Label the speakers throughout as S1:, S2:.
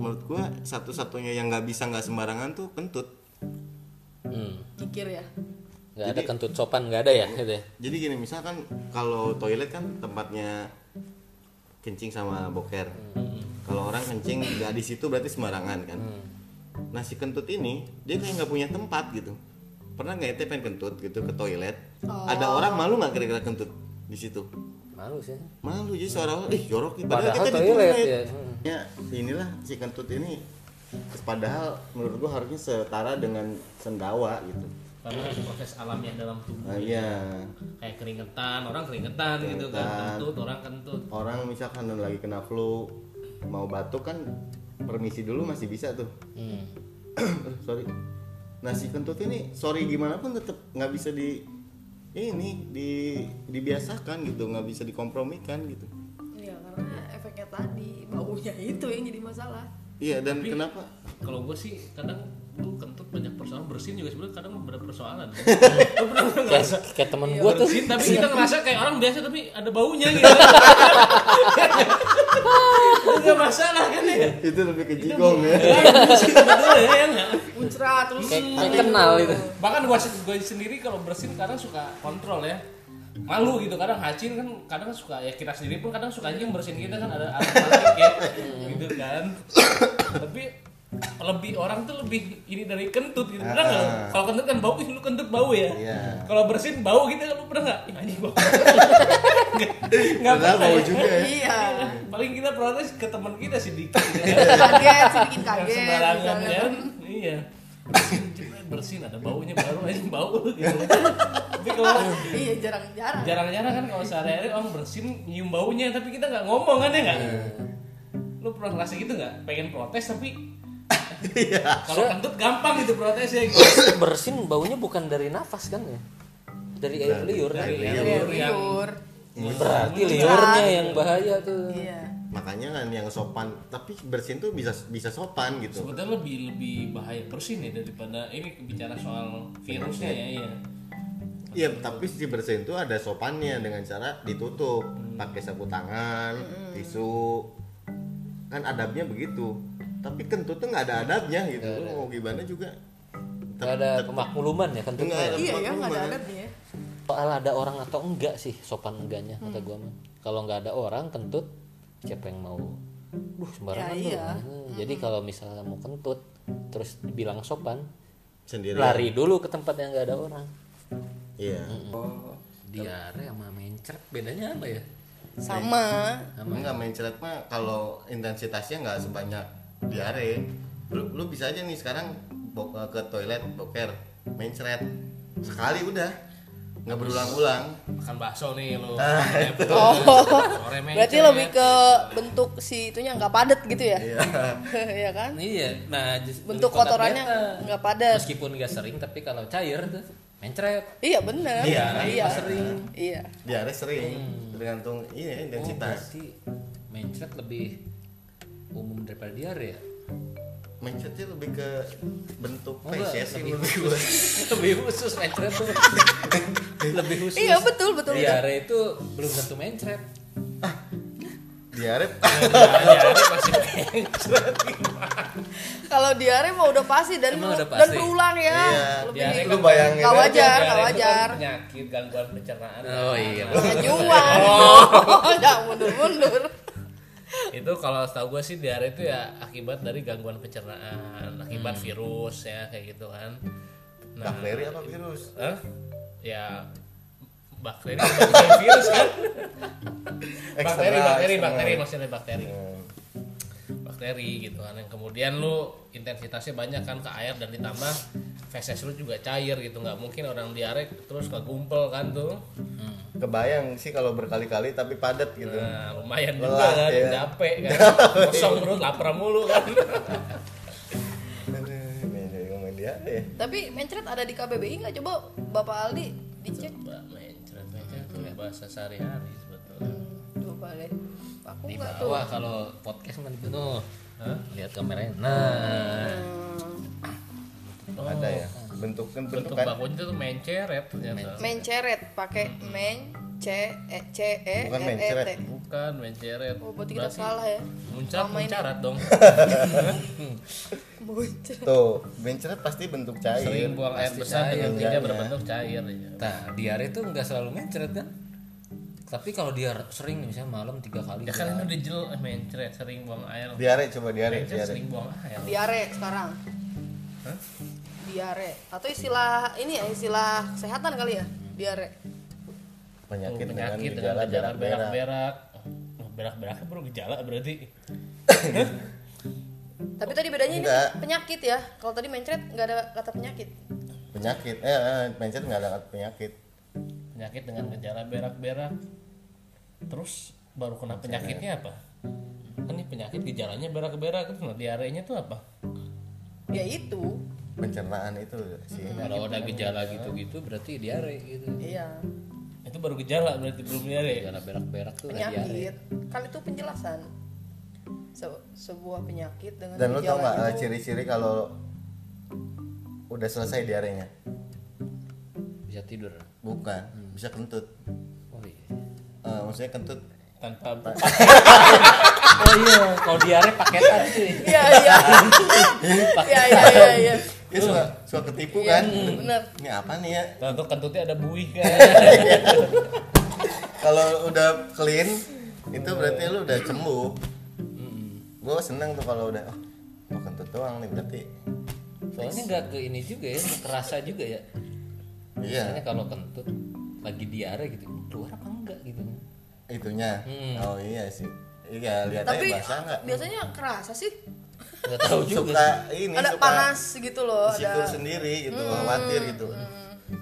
S1: gue satu-satunya yang nggak bisa nggak sembarangan tuh kentut
S2: Hmm.
S3: Kikir ya.
S2: Nggak ada kentut sopan nggak ada ya gitu ya.
S1: jadi gini misalkan kalau toilet kan tempatnya kencing sama boker kalau orang kencing nggak di situ berarti sembarangan kan nah si kentut ini dia kayak nggak punya tempat gitu pernah nggak ente pengen kentut gitu ke toilet ada orang malu nggak kira-kira kentut di situ
S2: Malu sih.
S1: malu jadi seolah-olah ih jorok nih padahal,
S2: Padahal
S1: kita di
S2: toilet,
S1: toilet
S2: ya.
S1: ya. inilah si kentut ini padahal menurut gua harusnya setara dengan sendawa gitu
S4: karena proses alamnya dalam tubuh ya.
S1: nah, iya
S4: kayak keringetan orang keringetan, gitu kan
S1: Keringetan.
S4: kentut orang kentut
S1: orang misalkan lagi kena flu mau batuk kan permisi dulu masih bisa tuh
S2: Hmm.
S1: Eh, sorry nah si kentut ini sorry gimana pun tetap nggak bisa di ini di dibiasakan gitu nggak bisa dikompromikan gitu
S3: Iya karena efeknya tadi baunya itu yang jadi masalah.
S1: iya dan
S4: Tapi-
S1: kenapa
S4: kalau gue sih kadang lu kentut banyak persoalan bersin juga sebenarnya kadang ada persoalan lu pernah nggak
S2: Kayak,
S4: ngerasa
S2: kayak temen
S3: Iya,
S2: gua tuh.
S4: bersin tapi kita ngerasa kayak orang biasa tapi ada baunya gitu Itu nggak masalah kan ya
S1: itu lebih ke jigong ya
S4: bersin betul ya, ya nggak?
S3: Muncrat terus.
S2: Kayak, kayak kenal gitu. itu.
S4: bahkan gua gua sendiri kalau bersin kadang suka kontrol ya malu gitu kadang hacin kan kadang suka ya kita sendiri pun kadang suka aja yang bersin kita kan ada arah balik ya gitu kan tapi lebih orang tuh lebih ini dari kentut gitu pernah nggak lu? kalau kentut kan bau ih lu kentut bau ya
S1: Ah. Iya.
S4: kalau bersin bau gitu lu pernah nggak Ih, anjing gua Nggak- nggak
S1: Padahal
S4: pernah
S1: bau
S4: ya.
S1: juga ya
S3: Iya.
S4: paling kita protes ke teman kita sih dikit ya.
S3: Kaget, sih bikin
S4: Yang
S3: kaget.
S4: sembarangan
S3: misalnya.
S4: kan iya bersin jebret, bersin ada baunya baru aja bau gitu tapi kalau
S3: Iya jarang-jarang.
S4: jarang-jarang kan kalau sehari-hari orang bersin nyium baunya tapi kita nggak ngomong kan ya nggak lu pernah ngerasa gitu nggak pengen protes tapi kalau kentut gampang gitu protesnya gitu.
S2: Bersin baunya bukan dari nafas kan ya? Dari air liur. kan?
S4: dari yang-
S3: Iya,
S4: yang
S3: tidur.
S2: Berarti liurnya yang bahaya tuh.
S3: Iya.
S1: makanya kan yang sopan tapi bersin tuh bisa bisa sopan gitu
S4: sebetulnya lebih lebih bahaya bersin ya daripada ini bicara soal virusnya ya iya
S1: Iya, tapi si bersin tuh ada sopannya dengan cara ditutup pakai sapu tangan, tisu. Kan adabnya begitu. Tapi kentut tuh nggak ada adabnya gitu. Lu mau gimana juga.
S2: Nggak ada pemakmuluman ya kentutnya.
S1: Nggak
S2: ya?
S1: ada.
S3: Iya ya
S1: Tempat
S3: nggak ada
S1: rumah.
S3: adabnya ya.
S2: Soal ada orang atau enggak sih sopan enggaknya kata gua mah. Kalau nggak ada orang kentut siapa yang mau Duh sembarangan
S3: Ya,
S2: lu.
S3: iya.
S2: Hmm, Jadi kalau misalnya mau kentut terus bilang sopan
S1: Sendiri.
S2: lari dulu ke tempat yang nggak ada orang.
S1: Iya.
S2: Diare sama mencret bedanya apa ya?
S3: Sama.
S1: Enggak main cerat mah kalau intensitasnya nggak sebanyak diare. Lu, lu bisa aja nih sekarang bo- eh, ke toilet boker main cerat sekali udah nggak berulang-ulang
S4: makan bakso nih lu
S3: Oh.
S4: Sore mencret.
S3: Berarti lebih ke bentuk si itunya nggak padat gitu ya?
S1: iya
S3: Iya kan?
S2: Iya, nah just-
S3: Bentuk
S2: kontak
S3: kotorannya
S2: beta.
S3: nggak padat.
S2: meskipun nggak sering tapi kalau cair tuh mencret.
S3: Iya bener.
S1: Iya,
S3: Iya. Iya.
S1: diare sering
S4: Hmm.
S1: tergantung ini intensitas
S2: berarti mencret lebih umum daripada diare ya?
S4: Oh.
S1: Mindsetnya lebih ke bentuk
S2: Enggak,
S1: face ya sih
S2: lebih
S1: menurut gue.
S2: lebih khusus mencret tuh lebih khusus.
S3: Iya betul betul. betul.
S2: Diare itu belum tentu mencret.
S1: Diare
S4: Diare masih mencret.
S3: Kalau diare mah udah pasti dan
S2: Emang udah
S3: dan
S2: pasti?
S3: berulang ya.
S1: Iya,
S3: Lebih
S4: diare
S1: lu bayangin
S3: nggak
S1: aja.
S3: wajar,
S4: Diare kan
S3: nggak
S4: itu kan
S3: wajar.
S4: penyakit gangguan pencernaan
S2: Oh iya.
S3: Kenyuan. Jangan Oh. mundur-mundur.
S4: itu kalau setahu gue sih diare itu ya akibat dari gangguan pencernaan akibat
S2: Hmm.
S4: virus ya kayak gitu kan nah
S1: Bakteri apa virus?
S4: eh, ya bakteri bukan virus kan
S1: Eksternal,
S4: bakteri bakteri
S1: eksternal.
S4: bakteri maksudnya bakteri
S2: Hmm.
S4: bakteri gitu kan yang kemudian lu intensitasnya banyak kan ke air dan ditambah feses lu juga cair gitu nggak mungkin orang diare terus kegumpel kan tuh
S1: Kebayang sih kalau berkali-kali tapi padat gitu.
S4: Nah, lumayan juga
S1: Lelah,
S4: kan,
S1: ya.
S4: capek kan. Kosong perut, lapar mulu kan.
S1: Aduh, ini jadi ngomongin diare.
S3: Tapi mencret ada di KBBI nggak? Coba Bapak Aldi dicek.
S4: Coba main cerita tuh bahasa sehari-hari sebetulnya.
S3: Coba deh. Aku
S2: Di
S3: nggak tuh.
S2: bawah kalau podcast mah dipenuh. Lihat kameranya. Nah,
S3: Hmm.
S1: Ada ya. Bentuk kan bentuk
S4: Bentuk
S1: kan.
S4: bakunya tuh menceret ternyata.
S3: Menceret pakai men C E C E
S1: Bukan
S3: E, E,
S1: mencret.
S3: T.
S4: Bukan menceret.
S3: Oh berarti kita salah ya.
S4: Muncat,
S3: Selama ini.
S4: muncarat dong.
S3: Muncrat.
S1: Tuh, mencret pasti bentuk cair.
S4: Sering buang air
S2: Pasti
S4: besar
S2: cair
S4: yang
S1: enggaknya.
S4: tidak berbentuk cair. ya.
S2: Nah, diare tuh nggak selalu mencret kan? Tapi kalau dia sering nih, misalnya malam tiga kali.
S4: Ya kan udah jel eh, mencret sering buang air.
S1: Diare coba diare,
S4: Mencret
S1: diare.
S4: sering buang air.
S3: Diare sekarang.
S4: Hah?
S3: Diare atau istilah ini ya istilah kesehatan kali ya diare.
S1: Penyakit,
S4: Oh, penyakit
S1: dengan
S4: dengan gejala
S1: berak-berak.
S4: berak-berak. Oh, Berak-berak bro gejala berarti.
S3: Tapi tadi bedanya
S1: Enggak.
S3: ini penyakit ya. Kalau tadi mencret nggak ada kata penyakit.
S1: Penyakit, eh, eh mencret nggak ada kata penyakit.
S4: Penyakit dengan gejala berak-berak. Terus baru kena penyakitnya apa? Kan nih penyakit gejalanya berak-berak terus nah diarenya tuh apa?
S3: Ya itu.
S1: Pencernaan itu sih.
S2: Kalau ada gejala gitu-gitu berarti diare gitu.
S3: Iya.
S4: Itu baru gejala berarti belum diare.
S2: Gejala berak-berak tuh udah diare.
S3: Penyakit. Kan itu penjelasan. Se- sebuah penyakit dengan
S1: Dan lo tau
S3: gejala
S1: nggak eh,
S3: itu.
S1: ciri-ciri kalau udah selesai diarenya?
S2: Bisa tidur.
S1: Bukan, Hmm, bisa kentut.
S2: Oh iya.
S1: Eh, maksudnya kentut
S4: Tanpa
S2: Oh iya, kalau diare paketan sih.
S3: Iya iya. Iya iya iya iya.
S1: ya suka suka ketipu kan
S3: bener.
S1: ini apa nih ya
S4: Tentu kentutnya ada buih kan.
S1: kalau udah clean itu berarti lu udah sembuh gue seneng tuh kalau udah oh, oh kentut doang nih berarti
S2: Soalnya nggak ke ini juga ya, nggak kerasa juga ya. Soalnya
S1: iya
S2: kalau kentut lagi diare gitu, keluar apa enggak gitu.
S1: itunya
S2: Hmm.
S1: oh iya sih iya lihat aja
S3: Tapi
S1: basah nggak
S3: biasanya kerasa sih.
S2: Nggak tahu juga.
S1: suka ini
S3: ada
S1: suka
S3: panas gitu loh.
S1: disikur
S3: Ada. Hmm.
S1: sendiri gitu khawatir gitu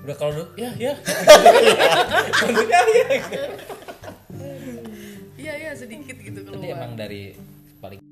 S4: Udah kalau du- ya ya.
S3: Iya iya sedikit
S2: Tapi
S3: gitu keluar. gitu
S2: emang dari paling